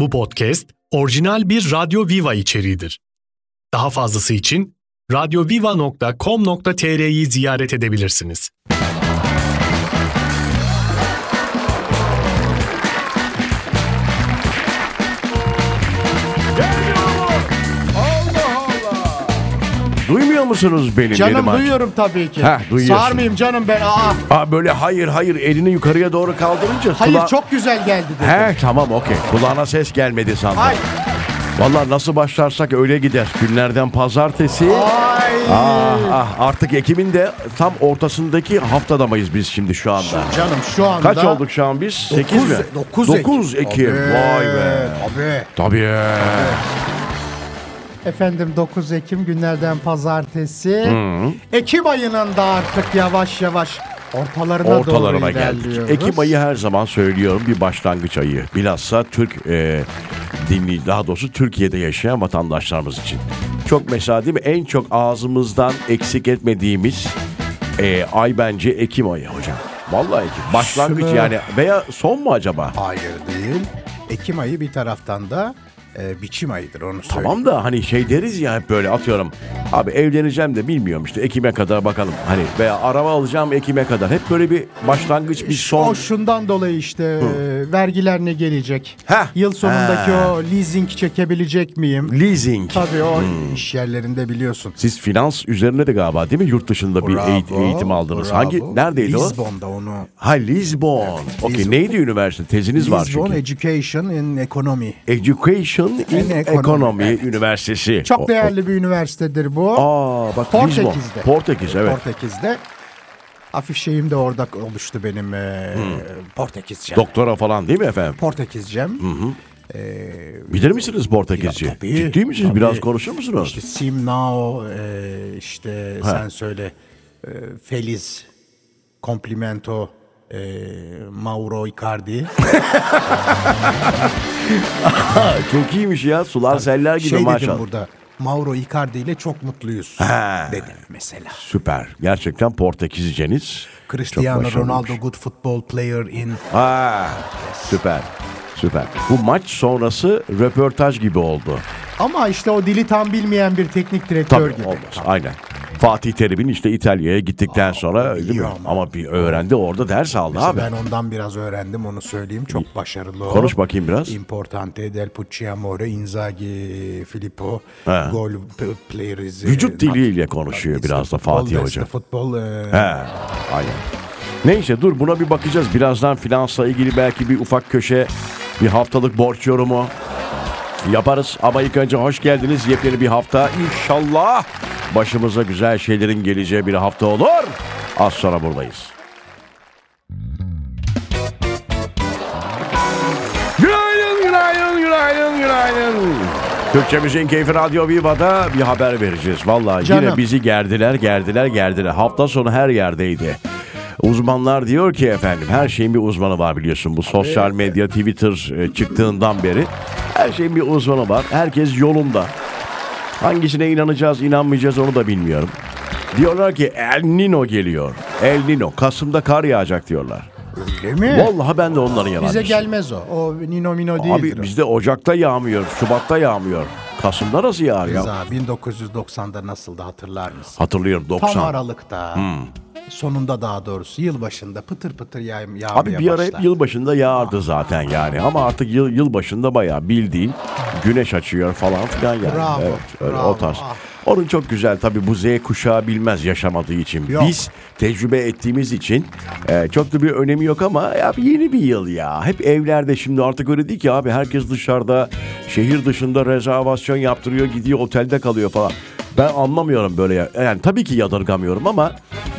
Bu podcast orijinal bir Radyo Viva içeriğidir. Daha fazlası için radyoviva.com.tr'yi ziyaret edebilirsiniz. Allah Allah. Duymuyor musunuz benim Canım yerim ağacım? duyuyorum tabii ki. Heh, duyuyorsun. Sarmayayım canım ben. Aa, Aa, böyle hayır hayır elini yukarıya doğru kaldırınca hayır kula- çok güzel geldi dedi. He tamam okey. Kulağına ses gelmedi sandım. Ay, Vallahi nasıl başlarsak öyle gider. Günlerden pazartesi. ay. Ah, ah, artık Ekim'in de tam ortasındaki haftada biz şimdi şu anda. Canım şu anda. e- Kaç olduk şu an biz? 8 mi? 9 Dokuz Ekim. Vay be. Abi. Tabii. Efendim 9 Ekim günlerden pazartesi. Ekim ayının da artık yavaş yavaş ortalarına, Ortalarına doğru geldik. ilerliyoruz. Ekim ayı her zaman söylüyorum bir başlangıç ayı. Bilhassa Türk e, dinleyici, daha doğrusu Türkiye'de yaşayan vatandaşlarımız için. Çok mesela değil mi? En çok ağzımızdan eksik etmediğimiz e, ay bence Ekim ayı hocam. Vallahi Ekim. Başlangıç Şunu- yani veya son mu acaba? Hayır değil. Ekim ayı bir taraftan da e, biçim ayıdır onu söyleyeyim. Tamam da hani şey deriz ya hep böyle atıyorum. Abi evleneceğim de bilmiyorum işte Ekim'e kadar bakalım. Hani veya araba alacağım Ekim'e kadar. Hep böyle bir başlangıç bir son. O şundan dolayı işte e, vergiler ne gelecek? Heh. Yıl sonundaki Ha. o leasing çekebilecek miyim? Leasing. Tabii o iş yerlerinde biliyorsun. Hmm. Siz finans üzerine de galiba değil mi yurt dışında bir Bravo, eğit- eğitim aldınız. bravo. Hangi neredeydi o? Lisbon'da onu. Ha Lisbon. Okey Lisbon. neydi üniversite? Teziniz var Lisbon çünkü. Education in Economy. Education in In Economy, Economy Üniversitesi. O- Çok değerli bir üniversitedir bu. Aa bak Lisbon. Portekiz'de. Portekiz evet. Portekiz'de. Hafif şeyim de orada oluştu benim e, Hmm. Portekizcem. Doktora falan değil mi efendim? Hmm. Portekizcem. Bilir misiniz Portekizce? Ya tabii, Ciddi misiniz? tabii. Biraz konuşur musunuz? İşte Sim Nao, e, işte sen söyle e, Feliz, Complimento, e, Mauro Icardi. Çok iyiymiş ya. Sular seller gibi şey dedim maşallah. burada. Mauro Icardi ile çok mutluyuz dedim mesela. Süper. Gerçekten Portekizceniz. çok Cristiano başarılıymış. Ronaldo good football player in Ha, süper. Süper. Bu maç sonrası röportaj gibi oldu. ama işte o dili tam bilmeyen bir teknik direktör Tabii gibi. olmaz. Aynen. Fatih Terim'in işte İtalya'ya gittikten sonra değil mi? biliyor Ama. bir öğrendi orada ders aldı Mesela abi. Ben ondan biraz öğrendim onu söyleyeyim. Çok başarılı. o. Konuş bakayım biraz. Importante del Pucciamore, Inzaghi, Filippo, He. gol p- players. Vücut e, diliyle konuşuyor It's biraz the da football, Fatih that's Hoca. the football, e, He, aynen. Neyse dur buna bir bakacağız. Birazdan finansla ilgili belki bir ufak köşe, bir haftalık borç yorumu yaparız. Ama ilk önce hoş geldiniz. Yepyeni bir hafta. İnşallah başımıza güzel şeylerin geleceği bir hafta olur. Az sonra buradayız. Günaydın, günaydın, günaydın, günaydın. Türkçemizin Keyfi Radyo Viva'da bir haber vereceğiz. Vallahi yine Canım. bizi gerdiler, gerdiler, gerdiler. Hafta sonu her yerdeydi. Uzmanlar diyor ki efendim her şeyin bir uzmanı var biliyorsun. Bu sosyal medya, Twitter e, çıktığından beri her şeyin bir uzmanı var. Herkes yolunda. Hangisine inanacağız, inanmayacağız onu da bilmiyorum. Diyorlar ki El Nino geliyor. El Nino. Kasım'da kar yağacak diyorlar. Öyle mi? Vallahi ben de onların Bize yalanıyım. gelmez o. O Nino Mino değildir. Abi o. bizde Ocak'ta yağmıyor, Şubat'ta yağmıyor. Kasım'da nasıl yağar ya? Rıza 1990'da nasıldı hatırlar mısın? Hatırlıyorum Tam 90. Aralık'ta. Hmm. Sonunda daha doğrusu yılbaşında pıtır pıtır yağ, yağmaya Abi bir ara başlar. hep yılbaşında yağardı zaten yani. Ama artık yıl yılbaşında bayağı bildiğin güneş açıyor falan filan yani. Bravo, Evet, öyle o bravo, tarz. ah. Onun çok güzel tabii bu Z kuşağı bilmez yaşamadığı için. Yok. Biz tecrübe ettiğimiz için e, çok da bir önemi yok ama abi yeni bir yıl ya. Hep evlerde şimdi artık öyle değil ki abi herkes dışarıda şehir dışında rezervasyon yaptırıyor gidiyor otelde kalıyor falan. Ben anlamıyorum böyle ya. Yani tabii ki yadırgamıyorum ama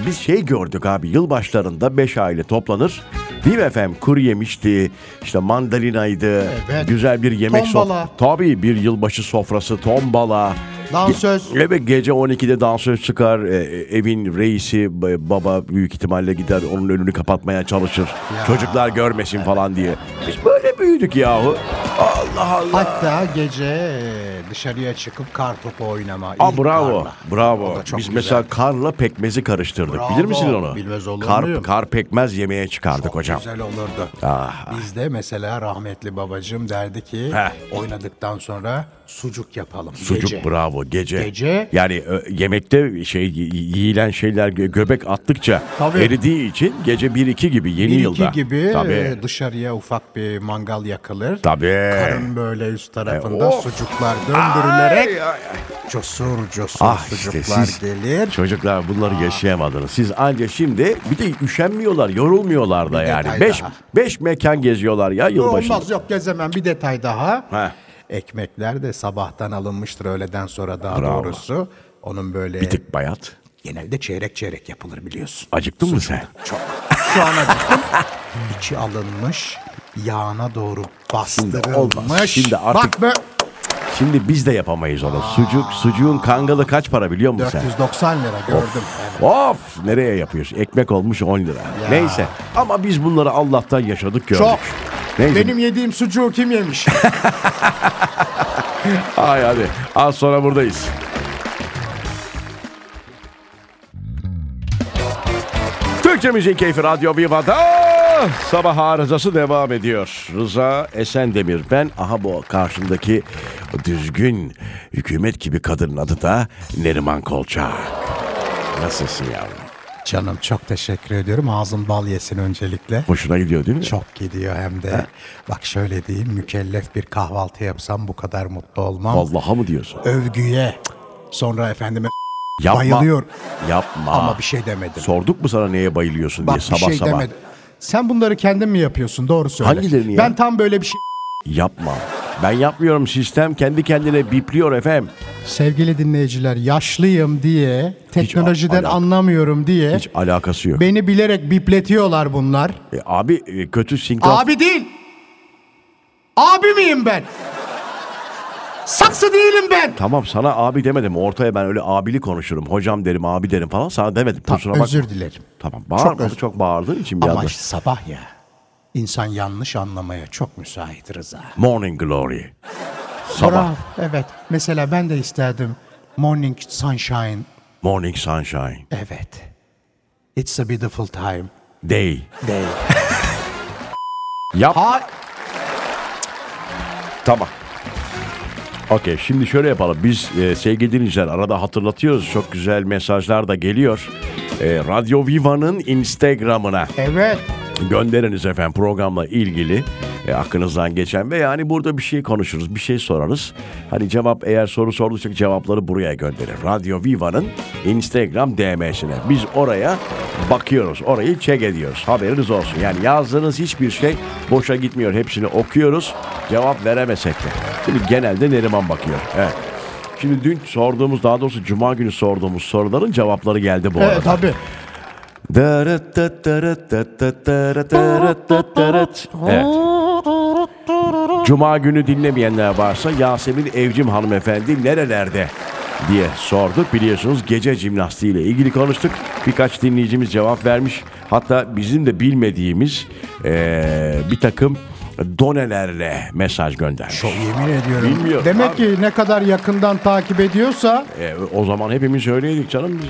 biz şey gördük abi yılbaşlarında 5 aile toplanır. Değil mi efendim? Kuru yemişti, işte mandalinaydı, Evet. güzel bir yemek Tombala. Tabii bir yılbaşı sofrası, tombala. Dansöz. Ge- Evet gece 12'de dansöz çıkar. E, e, evin reisi b- baba büyük ihtimalle gider onun önünü kapatmaya çalışır. Çocuklar görmesin falan diye. Biz böyle büyüdük yahu. Allah Allah. Hatta gece e, dışarıya çıkıp kar topu oynama. Aa, ilk bravo. karla. O Bravo. da çok Biz güzel. mesela karla pekmezi karıştırdık. Bravo, Bilir misin onu? bilmez olur kar, muyum? kar pekmez yemeğe çıkardık hocam. Güzel olurdu. Ah. Biz de mesela rahmetli babacığım derdi ki Heh. oynadıktan sonra sucuk yapalım. Sucuk gece. bravo gece. Gece. Yani ö, yemekte şey y- yiyilen şeyler gö- göbek attıkça Tabii. eridiği için gece 1-2 gibi yeni Bir yılda. iki gibi Tabii. e, dışarıya ufak bir mangal yakılır. Tabii. Karın böyle üst tarafında E, of. sucuklar döndürülerek Ay, ay, ay. cosur cosur Ah işte sucuklar siz gelir. çocuklar bunları yaşayamadınız. Siz anca şimdi bir de üşenmiyorlar, yorulmuyorlar da yani. detay 5 daha. 5 mekan geziyorlar ya yılbaşında. Olmaz yok gezemem bir detay daha. Heh. Ekmekler de sabahtan alınmıştır öğleden sonra daha Bravo. doğrusu. Onun böyle Bir tık bayat. genelde çeyrek çeyrek yapılır biliyorsun. Acıktın mı sen? Şu an acıktım. İçi alınmış yağına doğru bastırılmış. olmaz, şimdi artık- Bak be Şimdi biz de yapamayız onu. Sucuk, sucuğun kangalı kaç para biliyor musun sen? 490 lira gördüm. Evet. Of nereye yapıyorsun? Ekmek olmuş 10 lira. Neyse ama biz bunları Allah'tan yaşadık gördük. Çok. Neyse. Benim yediğim sucuğu kim yemiş? Ay hadi az sonra buradayız. Türkçe Müzik Keyfi Radyo Viva'da sabah arızası devam ediyor. Rıza Esendemir ben. Aha bu karşımdaki o düzgün hükümet gibi kadının adı da Neriman Kolçak. Nasılsın yavrum? Canım çok teşekkür ediyorum. Ağzın bal yesin öncelikle. Hoşuna gidiyor değil mi? Çok gidiyor hem de. Bak şöyle diyeyim mükellef bir kahvaltı yapsam bu kadar mutlu olmam. Allah'a mı diyorsun? Övgüye. Sonra efendime Yapma. bayılıyor. Yapma. Ama bir şey demedim. Sorduk mu sana neye bayılıyorsun Bak diye Ah. sabah bir şey sabah? demedim. Sen bunları kendin mi yapıyorsun? Doğru söyle. Hangilerini ya? Ben tam böyle bir şey... Yapma. Ben yapmıyorum sistem kendi kendine bipliyor efem. Sevgili dinleyiciler yaşlıyım diye, teknolojiden alak- anlamıyorum diye Hiç alakası yok. beni bilerek bipletiyorlar bunlar. E, abi e, kötü sinkaf. Abi değil. Abi miyim ben? Saksı değilim ben. Tamam sana abi demedim. Ortaya ben öyle abili konuşurum. Hocam derim abi derim falan sana demedim. Kusura bakma. Özür dilerim. Tamam bağırma. Çok Çok, özür- bağırdığın için bir Ama anda. işte sabah ya. İnsan yanlış anlamaya çok müsait Rıza. Morning glory. Sabah. Bravo, Evet. Mesela ben de isterdim. Morning sunshine. Morning sunshine. Evet. It's a beautiful time. Day. Day. Yap. Ha, Tamam. Okey şimdi şöyle yapalım. Biz e, sevgili dinleyiciler arada hatırlatıyoruz. Çok güzel mesajlar da geliyor. E, Radyo Viva'nın Instagram'ına evet. gönderiniz efendim programla ilgili e, aklınızdan geçen ve yani burada bir şey konuşuruz, bir şey sorarız. Hani cevap eğer soru sorduysak cevapları buraya gönderin. Radyo Viva'nın Instagram DM'sine. Biz oraya bakıyoruz, orayı check ediyoruz. Haberiniz olsun. Yani yazdığınız hiçbir şey boşa gitmiyor. Hepsini okuyoruz. Cevap veremesek de. Şimdi genelde Neriman bakıyor. Evet. Şimdi dün sorduğumuz daha doğrusu cuma günü sorduğumuz soruların cevapları geldi bu arada. Evet tabii. Evet. Cuma günü dinlemeyenler varsa Yasemin Evcim hanımefendi nerelerde diye sorduk. Biliyorsunuz gece jimnastiği ile ilgili konuştuk. Birkaç dinleyicimiz cevap vermiş. Hatta bizim de bilmediğimiz eee, bir takım donelerle mesaj göndermiş. Yemin ediyorum. Bilmiyorum Demek abi. ki ne kadar yakından takip ediyorsa E, o zaman hepimiz öyleydik canım. Biz.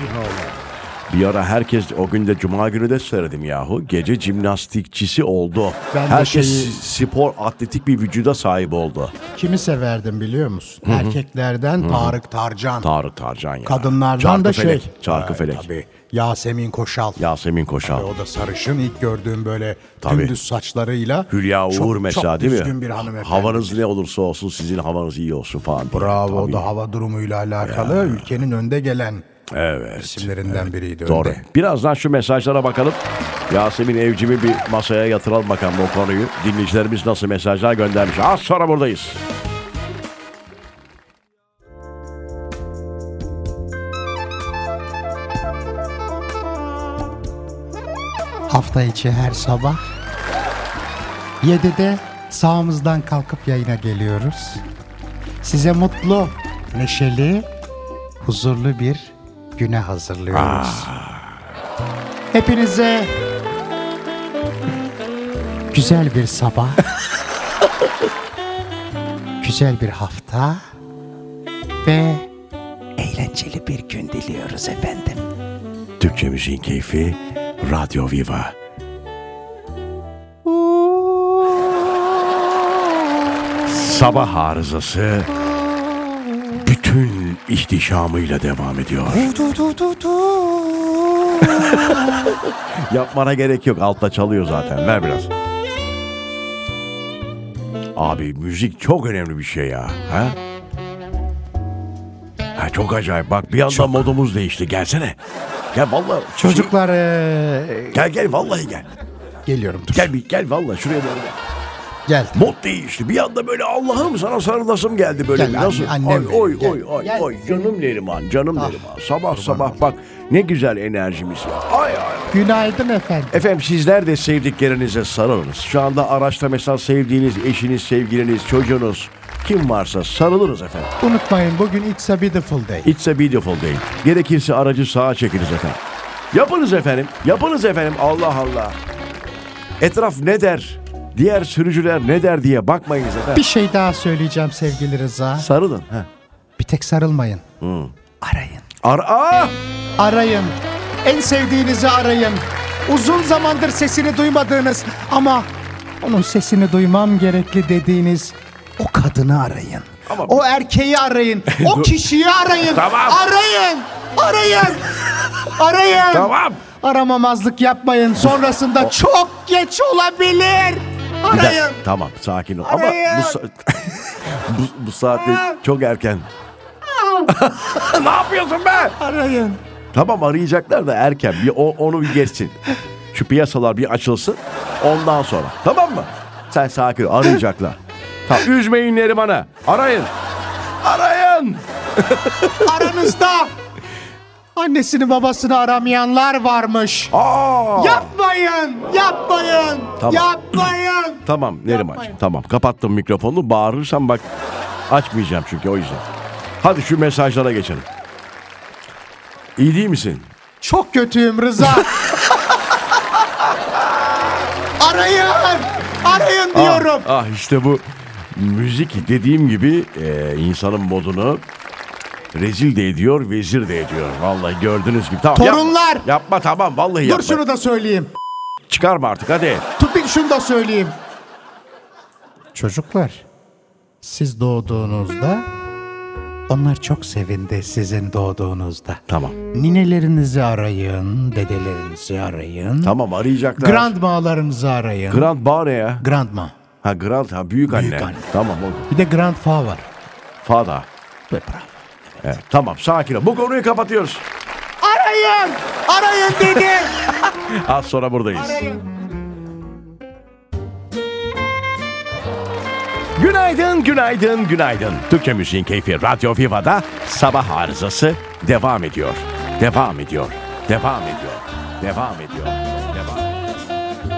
Bir ara herkes o gün de cuma günü de söyledim yahu. Gece jimnastikçisi oldu. Ben de herkes şeyi- spor atletik bir vücuda sahip oldu. kimi severdim biliyor musun? Erkeklerden Tarık Tarcan. Tarık Tarcan ya. Kadınlardan Çarkı da felek, şey. Çarkı Evet, felek. Tabii. Yasemin Koşal. Yasemin Koşal. O da sarışın ilk gördüğüm böyle Tabii. dümdüz saçlarıyla. Hülya Uğur çok, mesela çok değil mi? düzgün bir hanımefendi. Havanız ne olursa olsun sizin havanız iyi olsun falan. diye. Bravo o Tabii. da hava durumuyla alakalı ülkenin önde gelen Evet. isimlerinden biriydi. Doğru. Önde. Birazdan şu mesajlara bakalım. Yasemin Evcim'i bir masaya yatıralım bakalım o konuyu. Dinleyicilerimiz nasıl mesajlar göndermiş. Az sonra buradayız. Hafta içi her sabah 7'de sağımızdan kalkıp yayına geliyoruz. Size mutlu, neşeli, huzurlu bir güne hazırlıyoruz. Hepinize güzel bir sabah, güzel bir hafta ve eğlenceli bir gün diliyoruz efendim. Türkçe Müziğin Keyfi Radyo Viva. Sabah arızası bütün ihtişamıyla devam ediyor. Yapmana gerek yok. Altta çalıyor zaten. Ver biraz. Abi müzik çok önemli bir şey ya. Ha? Ha, çok acayip. Bak bir anda modumuz değişti. Gelsene. Gel vallahi. çocuklar eee, Gel gel vallahi gel. geliyorum dur. Gel bir gel vallahi şuraya doğru. gel. Geldim. Mod değişti. Bir anda böyle Allah'ım sana sarılasım geldi böyle. Gel, bir Nasıl? anne- annem oy oy benim, oy gel, oy, gel. oy. Canım Neriman, canım Neriman. Sabah sabah bak ne güzel enerjimiz ya. Ay ay. Günaydın efendim. Efendim sizler de sevdiklerinize sarılınız. Şu anda araçta mesela sevdiğiniz eşiniz, sevgiliniz, çocuğunuz kim varsa sarılınız efendim. Unutmayın bugün It's a Beautiful Day. It's a beautiful day. Gerekirse aracı sağa çekiniz efendim. Yapınız efendim. Yapınız efendim. Allah Allah. Etraf ne der? Diğer sürücüler ne der diye bakmayınız Bir efendim. şey daha söyleyeceğim sevgili Rıza. Sarılın. Heh. Bir tek sarılmayın. Hmm. Arayın. Ar Aa! Arayın. En sevdiğinizi arayın. Uzun zamandır sesini duymadığınız ama onun sesini duymam gerekli dediğiniz o kadını arayın. O erkeği arayın. O kişiyi arayın. Tamam. Arayın. Arayın. Arayın. Tamam. Aramamazlık yapmayın. Sonrasında çok geç olabilir. Bir dakika, Arayın. Tamam sakin ol. Ama Arayın. bu, sa- bu, bu saatte çok erken. ne yapıyorsun be? Arayın. Tamam arayacaklar da erken. Bir o, onu bir geçsin. Şu piyasalar bir açılsın. Ondan sonra. Tamam mı? Sen sakin ol. Arayacaklar. Tamam. Üzmeyin Neriman'ı. Arayın. Arayın. Aranızda annesini babasını aramayanlar varmış. Aa. Yapmayın, yapmayın, Tamam. yapmayın. Tamam Neriman'cığım. Yapmayın. Tamam. Kapattım mikrofonu. Bağırırsam bak açmayacağım çünkü o yüzden. Hadi şu mesajlara geçelim. İyi değil misin? Çok kötüyüm Rıza. arayın, arayın diyorum. Ah, ah, işte bu müzik dediğim gibi e, insanın modunu rezil de ediyor, vezir de ediyor. Vallahi gördüğünüz gibi. Tamam, Torunlar! Yapma, yapma tamam vallahi Dur yapma. şunu da söyleyeyim. Çıkarma artık hadi. Tut bir şunu da söyleyeyim. Çocuklar, siz doğduğunuzda onlar çok sevindi sizin doğduğunuzda. Tamam. Ninelerinizi arayın, dedelerinizi arayın. Tamam arayacaklar. Grandmalarınızı arayın. Grand Bağ ne ya? Grandma. Ha Grand ha büyük anne. Büyük anne. Tamam o. Bir de grandfa var. Fada. Evet, tamam sakin ol. Bu konuyu kapatıyoruz. Arayın! Arayın dedi. Az sonra buradayız. Günaydın, günaydın, günaydın. Türkçe Müziğin Keyfi Radyo Viva'da sabah arızası devam ediyor. Devam ediyor, devam ediyor, devam ediyor, devam ediyor.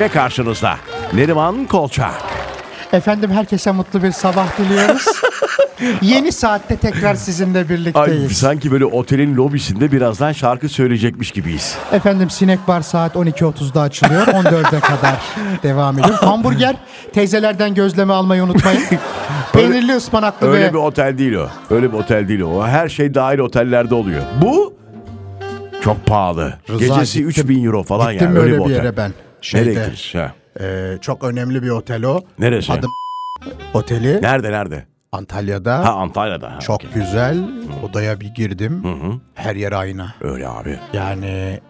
Ve karşınızda Neriman Kolçak. Efendim herkese mutlu bir sabah diliyoruz. Yeni saatte tekrar sizinle Ay, birlikteyiz. sanki böyle otelin lobisinde birazdan şarkı söyleyecekmiş gibiyiz. Efendim sinek bar saat 12.30'da açılıyor. 14'e kadar devam ediyor. Hamburger teyzelerden gözleme almayı unutmayın. Peynirli ıspanaklı Öyle ve bir otel değil o. Öyle bir otel değil o. Her şey dahil otellerde oluyor. Bu çok pahalı. Gecesi gittim- 3000 euro falan gittim yani. öyle bir, bir otel. yere ben. Nereye Şeyde, gittin? Ha. e, çok önemli bir otel o. Neresi? Adı Oteli Nerede nerede? Antalya'da. Ha Antalya'da. Ha, Çok okey. güzel. Odaya bir girdim. Her yer ayna. Öyle abi. Yani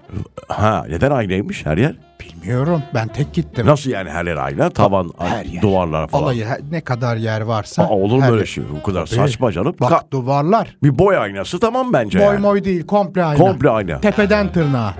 Ha neden aynaymış her yer? bilmiyorum. Ben tek gittim. Nasıl yani her yer ayna? Tavan, Her ay- yer. duvarlar falan. Vallahi he- ne kadar yer varsa. Aa, olur mu her böyle yer. şey? Bu kadar Tabii. saçma canım. Bak Ka- duvarlar. bir boy aynası tamam bence Boy yani. moy değil komple ayna. Komple ayna. Tepeden tırnağa.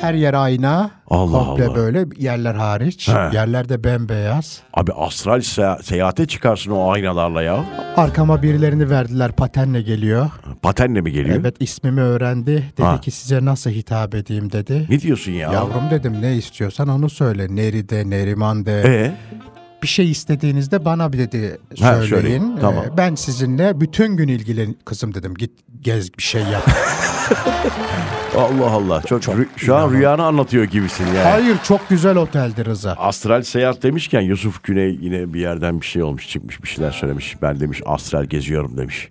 Her yer ayna. Allah komple Allah. böyle yerler hariç. He. Yerler de bembeyaz. Abi astral se- seyahate çıkarsın o aynalarla ya. Arkama birilerini verdiler patenle geliyor. Patenle mi geliyor? Evet ismimi öğrendi. Dedi Ha. ki size nasıl hitap edeyim dedi. Ne diyorsun ya? Yavrum dedim ne istiyorsan onu söyle. Neri de Neriman de. E bir şey istediğinizde bana bir dedi Ha, söyleyin. söyleyin, Ee, tamam. Ben sizinle bütün gün ilgilen kızım dedim git gez bir şey yap. Allah Allah. Çok, rü- şu an rüyanı anlatıyor gibisin yani. Hayır çok güzel oteldi Rıza. Astral seyahat demişken Yusuf Güney yine bir yerden bir şey olmuş çıkmış bir şeyler söylemiş. Ben demiş astral geziyorum demiş.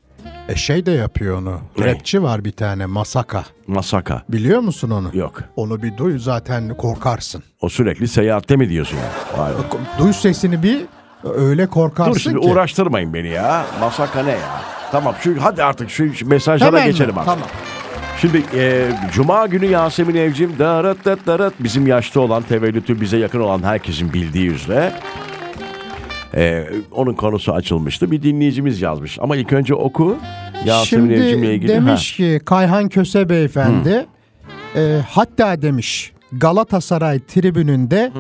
E şey de yapıyor onu. Ne? Rapçi var bir tane Masaka. Masaka. Biliyor musun onu? Yok. Onu bir duy zaten korkarsın. O sürekli seyahatte mi diyorsun? yani? Vay be. Duy sesini bir öyle korkarsın Dur şimdi ki. uğraştırmayın beni ya. Masaka ne ya? Tamam şu hadi artık şu, şu mesajlara Hemen mi? geçelim artık. Tamam. Şimdi e, Cuma günü Yasemin Evcim darat dat darat bizim yaşta olan tevellütü bize yakın olan herkesin bildiği üzere e, onun konusu açılmıştı. Bir dinleyicimiz yazmış ama ilk önce oku Yasemin Şimdi Evcim'le ilgili. Ha. demiş ki Kayhan Köse beyefendi e, hatta demiş Galatasaray tribününde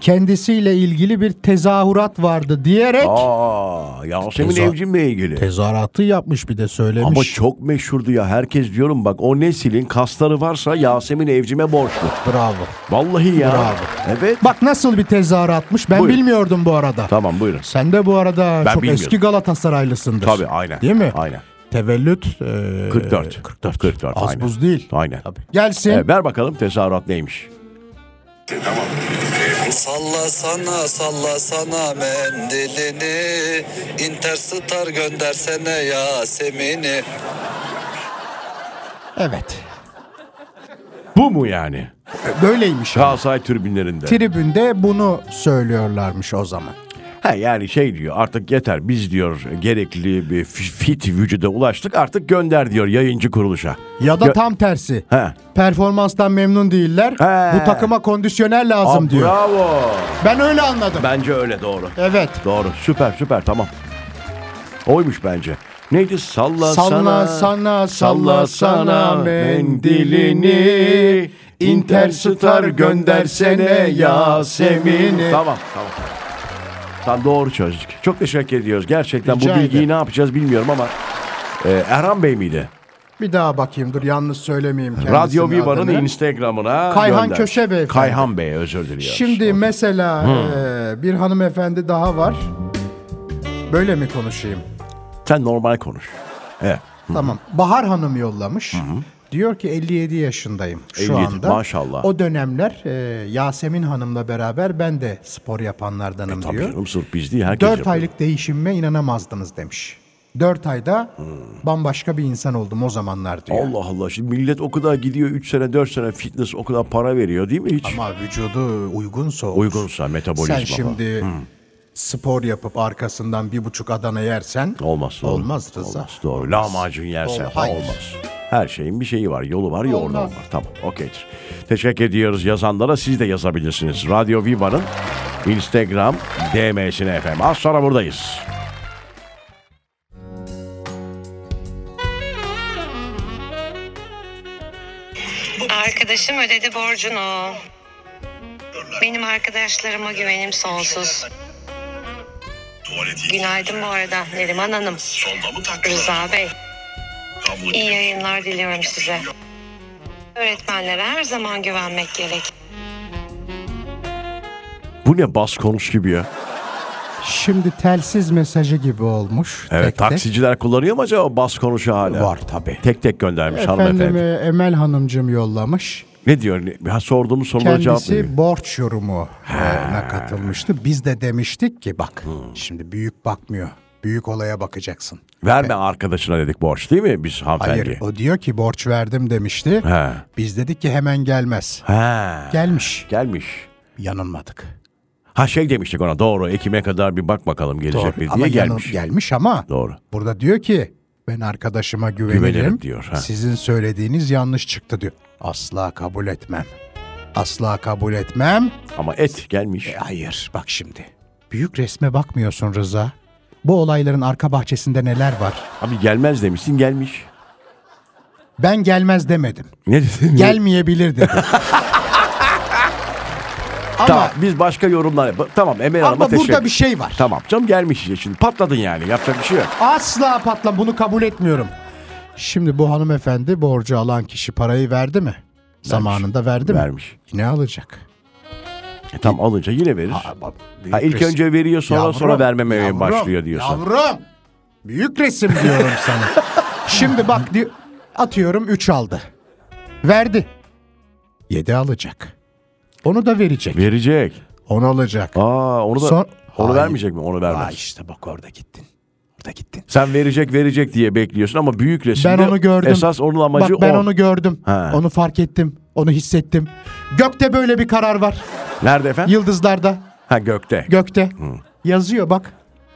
kendisiyle ilgili bir tezahürat vardı diyerek Aa, Yasemin Teza- Evcim'le ilgili. tezahüratı yapmış bir de söylemiş. Ama çok meşhurdu ya herkes diyorum bak o neslin kasları varsa Yasemin Evcim'e borçlu. Bravo. Vallahi ya. Bravo. Evet. Bak nasıl bir tezahüratmış ben Buyurun. bilmiyordum bu arada. Tamam buyurun. Sen de bu arada Ben çok bilmiyordum. eski Galatasaraylısındır. Tabii aynen. Değil mi? Aynen. Tevellüt e, 44. 44. 44, Az aynen. buz değil. Aynen. Gelsin. E, ver bakalım tezahürat neymiş. Salla sana salla sana mendilini Interstar göndersene Yasemin'i Evet. Bu mu yani? Böyleymiş. ama. Galatasaray tribünlerinde. Tribünde bunu söylüyorlarmış o zaman. ha, yani şey diyor artık yeter biz diyor gerekli bir fi- fit vücuda ulaştık artık gönder diyor yayıncı kuruluşa. Ya da Gö- tam tersi. He. Performanstan memnun değiller. He. Bu takıma kondisyoner lazım Aa, diyor. Bravo. Ben öyle anladım. Bence öyle doğru. Evet. Doğru süper süper tamam. Oymuş bence. Neydi salla, Salla sana sana salla sana mendilini Interstar göndersene Yasemin'i Tamam tamam. Tam doğru çözdük. Çok teşekkür ediyoruz. Gerçekten Rica bu bilgiyi ederim. ne yapacağız bilmiyorum ama e, Erhan Bey miydi? Bir daha bakayım dur yalnız söylemeyeyim kendisinin Radyo Viva'nın adını. Instagram'ına Kayhan gönder. Köşe Beyefendi. Kayhan Bey özür diliyoruz. Şimdi mesela e, bir hanımefendi daha var. Böyle mi konuşayım? Sen normal konuş. Evet. Tamam. Bahar Hanım yollamış. Diyor ki 57 yaşındayım şu 57, anda. maşallah. O dönemler e, Yasemin Hanım'la beraber ben de spor yapanlardanım E, Tabii diyor. canım sırf biz değil herkes 4 yapıyor. aylık değişimime inanamazdınız demiş. 4 ayda bambaşka bir insan oldum o zamanlar diyor. Allah Allah şimdi millet o kadar gidiyor 3 sene 4 sene fitness o kadar para veriyor değil mi hiç? Ama vücudu uygunsa olur. Uygunsa metabolizma. Sen şimdi spor yapıp arkasından bir buçuk Adana yersen Olmaz. doğru. Olmaz Rıza. Olmaz doğru. Lahmacun yersen Olmaz. ha, Hayır. olmaz. Her şeyin bir şeyi var. Yolu var, yoğurdu var. Tamam, okeydir. Teşekkür ediyoruz yazanlara. Siz de yazabilirsiniz. Radyo Viva'nın Instagram DM'sine efendim. Az sonra buradayız. Arkadaşım ödedi borcunu. Benim arkadaşlarıma güvenim sonsuz. Günaydın bu arada Neriman Hanım. Rıza Bey. İyi yayınlar diliyorum size. Öğretmenlere her zaman güvenmek gerek. Bu ne bas konuş gibi ya. Şimdi telsiz mesajı gibi olmuş. Evet tek tek. taksiciler kullanıyor mu acaba bas konuşu hala? Var tabii. Tek tek göndermiş Efendim hanımefendi. e, Emel Hanımcığım yollamış. Ne diyor? Ne- Ha, sorduğumuz sorulara cevap veriyor. Kendisi borç yorumuna katılmıştı. Biz de demiştik ki bak şimdi büyük bakmıyor. Büyük olaya bakacaksın. Verme arkadaşına dedik borç değil mi biz hanımefendi? Hayır o diyor ki borç verdim demişti. He. Biz dedik ki hemen gelmez. He. Gelmiş. Gelmiş. Yanılmadık. Ha şey demiştik ona doğru Ekim'e kadar bir bak bakalım gelecek mi diye Ama yanıl- gelmiş. gelmiş ama Doğru. burada diyor ki ben arkadaşıma güvenirim. Güvenirim diyor, ha. Sizin söylediğiniz yanlış çıktı diyor. Asla kabul etmem. Asla kabul etmem. Ama et gelmiş. E, Hayır bak şimdi. Büyük resme bakmıyorsun Rıza. Bu olayların arka bahçesinde neler var? Abi gelmez demişsin gelmiş. Ben gelmez demedim. Ne dedin? Gelmeyebilir dedim. ama Tamam biz başka yorumlar yap. Tamam Emel Hanım'a ama teşekkür. burada bir şey var. Tamam canım gelmiş işte şimdi patladın yani yapacak bir şey yok. Asla patlam bunu kabul etmiyorum. Şimdi bu hanımefendi borcu alan kişi parayı verdi mi? Zamanında verdi mi? Vermiş. Yine alacak. Tam E, alınca yine verir. Aa, bak, büyük Ha, ilk resim. önce veriyor sonra Yavrum, sonra vermemeye yavrum, başlıyor diyorsun. Yavrum. Büyük resim diyorum sana. Şimdi bak di- atıyorum 3 aldı. Verdi. 7 alacak. Onu da verecek. Verecek. Onu alacak. Aa onu da Son- onu Hayır. vermeyecek mi? Onu vermez. Aa işte bak orada gittin. Orada gittin. Sen verecek verecek diye bekliyorsun ama büyük Ben resimde onu gördüm. esas onun amacı Bak ben o. onu gördüm. Ha. Onu fark ettim. Onu hissettim. Gökte böyle bir karar var. Nerede efendim? Yıldızlarda, ha gökte. gökte. Yazıyor bak.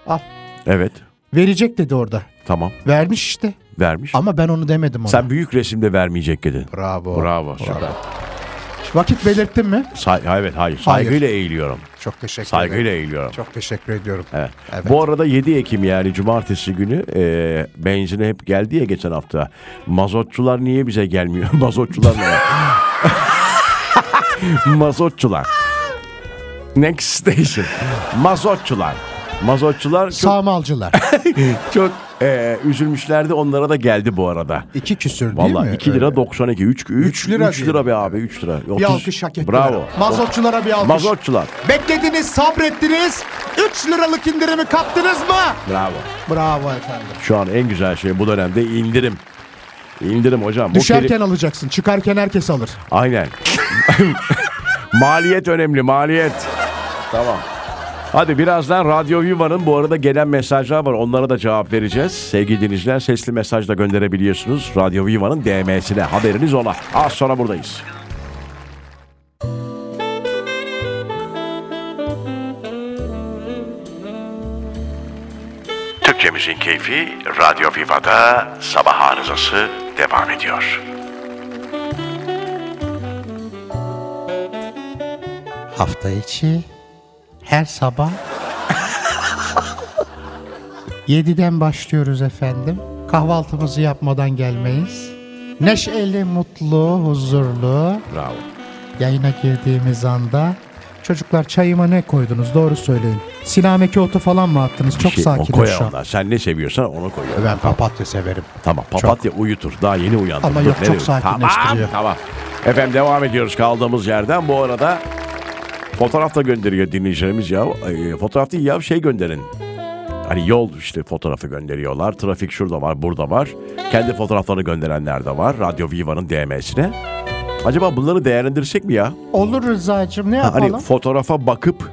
Al. evet. Verecek dedi orada. Tamam. Vermiş işte. Vermiş. Ama ben onu demedim ona. Sen büyük resimde vermeyecek dedin. Bravo. Bravo. Süper. Vakit belirttin mi? Say- evet hayır. Saygıyla eğiliyorum. Çok teşekkür Saygıyla ederim. eğiliyorum. Çok teşekkür ediyorum. Evet. Evet. Bu arada 7 Ekim yani cumartesi günü e, benzine hep geldi ya geçen hafta. Mazotçular niye bize gelmiyor? Mazotçular ne? ya? Mazotçular. Next station. Mazotçular. Mazotçular çok, Sağmalcılar. çok e, üzülmüşlerdi. Onlara da geldi bu arada. İki küsür değil Vallahi mi? 2 lira 92. 3, 3, Üç lira lira, 3 lira diyelim. be abi 3 lira. Bir 30. alkış hak ettiler. Bravo. Mazotçulara bir alkış. Mazotçular. Beklediniz, sabrettiniz. 3 liralık indirimi kaptınız mı? Bravo. Bravo efendim. Şu an en güzel şey bu dönemde indirim. İndirim hocam. Bu Düşerken keli- alacaksın, çıkarken herkes alır. Aynen. maliyet önemli maliyet. Tamam. Hadi birazdan Radyo Viva'nın bu arada gelen mesajlar var. Onlara da cevap vereceğiz. Sevgili dinleyiciler sesli mesaj da gönderebiliyorsunuz. Radyo Viva'nın DM'sine haberiniz ola. Az sonra buradayız. Türkçemizin keyfi Radyo Viva'da sabah arızası devam ediyor. Hafta içi her sabah 7'den başlıyoruz efendim. Kahvaltımızı yapmadan gelmeyiz. Neşeli, mutlu, huzurlu. Bravo. Yayına girdiğimiz anda çocuklar çayıma ne koydunuz doğru söyleyin. Sinameki otu falan mı attınız? Çok Şey, o sakinim koy şu an. onlar. Sen ne seviyorsan onu koy. Ben papatya severim. Tamam papatya uyutur. Daha yeni uyandım. Ama Dur, yok, çok nereye- Tamam sakinleştiriyor. tamam. Efendim devam ediyoruz kaldığımız yerden. Bu arada fotoğraf da gönderiyor dinleyicilerimiz ya. Ee, fotoğraf değil ya şey gönderin. Hani yol işte fotoğrafı gönderiyorlar. Trafik şurada var burada var. Kendi fotoğraflarını gönderenler de var. Radyo Viva'nın DM'sine. Acaba bunları değerlendirsek mi ya? Olur Rıza'cığım ne yapalım? Hani fotoğrafa bakıp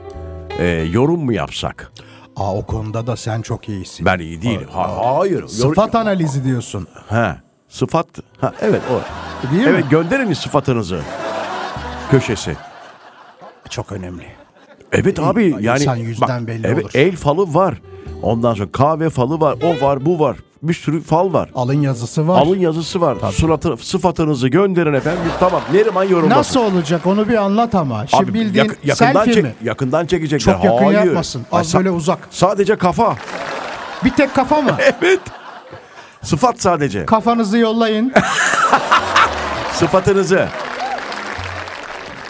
e, yorum mu yapsak? Aa, o konuda da sen çok iyisin. Ben iyi değilim. Ha, hayır. Yor- Sıfat analizi diyorsun. Ha, sıfat. Ha, evet o. Değil evet mi? gönderin sıfatınızı. Köşesi. Çok önemli. Evet abi yani insan yüzden belli evet, olur. el falı var. Ondan sonra kahve falı var. O var, bu var. Bir sürü fal var. Alın yazısı var. Alın yazısı var. Suratı sıfatınızı gönderin efendim. Tamam. Neriman yorumlasın. Nasıl olacak onu bir anlat ama. Şimdi Abi bildiğin yak- yakından selfie çek- mi? yakından çekecekler. Çok yakın Hayır. yapmasın. Az Ay, sa- böyle uzak. Sadece kafa. Bir tek kafa mı? Evet. Sıfat sadece. Kafanızı yollayın. Sıfatınızı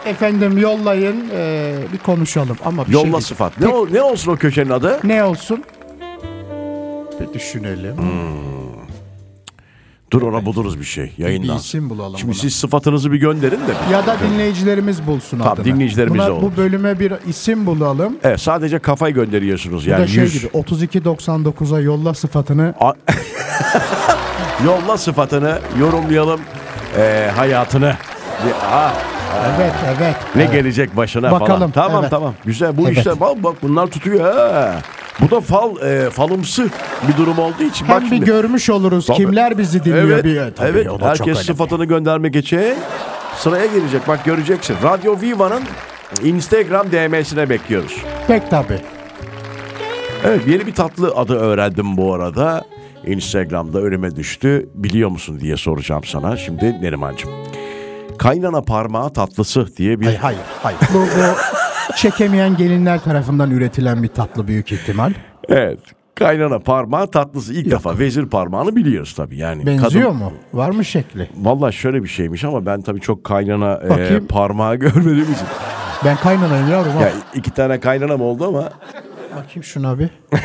Efendim yollayın. ee, bir konuşalım ama bir şey yolla diyeceğim. sıfat. Ne ol- ne olsun o köşenin adı? Ne olsun? Bir düşünelim. Dur ona buluruz bir şey yayından. Bir isim bulalım Şimdi buna. siz sıfatınızı bir gönderin de. Ya da dinleyicilerimiz bulsun Tamam, adını. dinleyicilerimiz Buna, de olur. Bu bölüme bir isim bulalım. Evet sadece kafayı gönderiyorsunuz Bu yani da şey 100. gibi 32.99'a yolla sıfatını A- Yolla sıfatını yorumlayalım ee, hayatını. Ya, ah, Evet evet. ne evet. gelecek başına falan. Bakalım, Tamam evet. tamam güzel bu Evet. işte bak bak bunlar tutuyor. ha. Bu da fal e, falımsı bir durum olduğu için. Hem bak bir şimdi. görmüş oluruz Tabii. kimler bizi dinliyor Evet, bir. Tabii, evet. o da çok herkes önemli. sıfatını göndermek için sıraya girecek. Bak göreceksin. Radyo Viva'nın Instagram DM'sine bekliyoruz. Pek tabii. Evet yeni bir tatlı adı öğrendim bu arada. Instagram'da önüme düştü. Biliyor musun diye soracağım sana şimdi Nerimancığım. Kaynana parmağı tatlısı diye bir... Hayır hayır. hayır. bu, bu çekemeyen gelinler tarafından üretilen bir tatlı büyük ihtimal. Evet. Kaynana parmağı tatlısı. İlk defa vezir parmağını biliyoruz tabii yani. Benziyor Kadın- mu? Var mı şekli? Valla şöyle bir şeymiş ama ben tabii çok kaynana e, Bakayım. parmağı görmediğim için. Ben kaynanayım yavrum. Ya Ya. iki tane kaynanam oldu ama Bakayım şuna bir.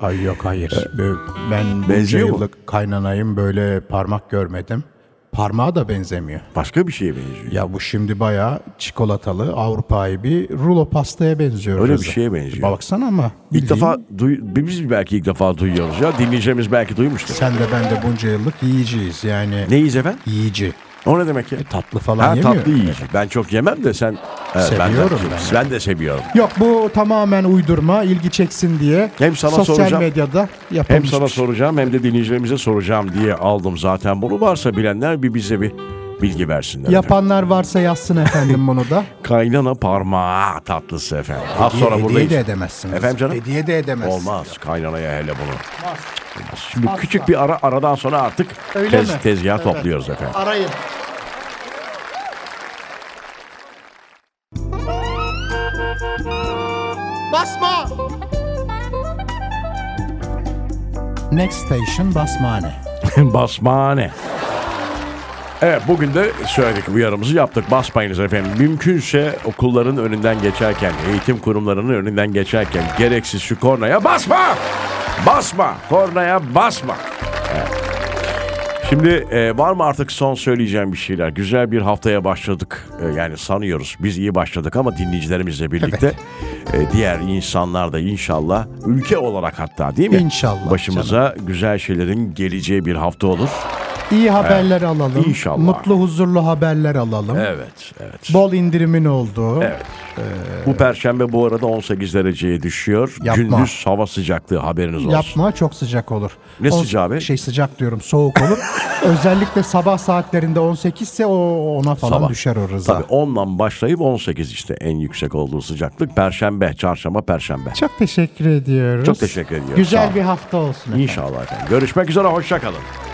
Ay yok hayır. Böyle- Ben bunca Benziyor mu? yıllık kaynanayım böyle parmak görmedim. Parmağı da benzemiyor. Başka bir şeye benziyor. Ya bu şimdi bayağı çikolatalı Avrupa'yı bir rulo pastaya benziyor. Öyle bir Rıza. şeye benziyor. Baksana ama. İlk bildiğin- defa duy- biz belki ilk defa duyuyoruz ya. Dinleyeceğimiz belki duymuştur. Sen de ben de bunca yıllık yiyiciyiz yani. Neyiz efendim? Yiyici. E, O ne demek ya? Tatlı falan Ha, yemiyor. tatlı yiyici. Ben çok yemem de sen... Evet, Seviyorum ben. de- ben. Ben de seviyorum. Yok bu tamamen uydurma ilgi çeksin diye. Hem sana sosyal soracağım. medyada yapılmış. Hem sana bir şey. soracağım hem de dinleyicilerimize soracağım diye aldım zaten bunu. Varsa bilenler bir bize bir bilgi versinler. Yapanlar varsa yazsın efendim bunu da. Kaynana parmağı tatlısı efendim. Az Hediye- Ah, sonra hediye buradayız. de edemezsin. Efendim kızım. canım? Hediye de edemezsin. Olmaz. Kaynanaya hele bunu. Şimdi küçük bir ara aradan sonra artık Öyle tez, mi? tezgah topluyoruz efendim. Arayın. Basma! Next station basmane. Basmane. Evet bugün de söyledik uyarımızı yaptık. Basmayınız efendim. Mümkünse okulların önünden geçerken, eğitim kurumlarının önünden geçerken gereksiz şu kornaya basma! Basma! Kornaya basma! Evet. Şimdi e, var mı artık son söyleyeceğim bir şeyler? Güzel bir haftaya başladık. E, yani sanıyoruz biz iyi başladık ama dinleyicilerimizle birlikte e, diğer insanlar da inşallah ülke olarak hatta değil mi? İnşallah Başımıza güzel şeylerin geleceği bir hafta olur. İyi haberler alalım. İnşallah. Mutlu huzurlu haberler alalım. Evet, evet. Bol indirimin olduğu. Evet. Bu perşembe bu arada 18 dereceye düşüyor. Yapma. Gündüz hava sıcaklığı haberiniz olsun. Yapma çok sıcak olur. Ne On- sıcağı be? Şey sıcak diyorum soğuk olur. Özellikle sabah saatlerinde 18 ise o ona falan Sabah. düşer o rıza. Tabii 10'dan başlayıp 18 işte en yüksek olduğu sıcaklık. Perşembe, çarşamba, perşembe. Çok teşekkür ediyoruz. Çok teşekkür ediyoruz. Sağ Güzel olun. bir hafta olsun. efendim. İnşallah efendim. Görüşmek üzere, hoşça kalın.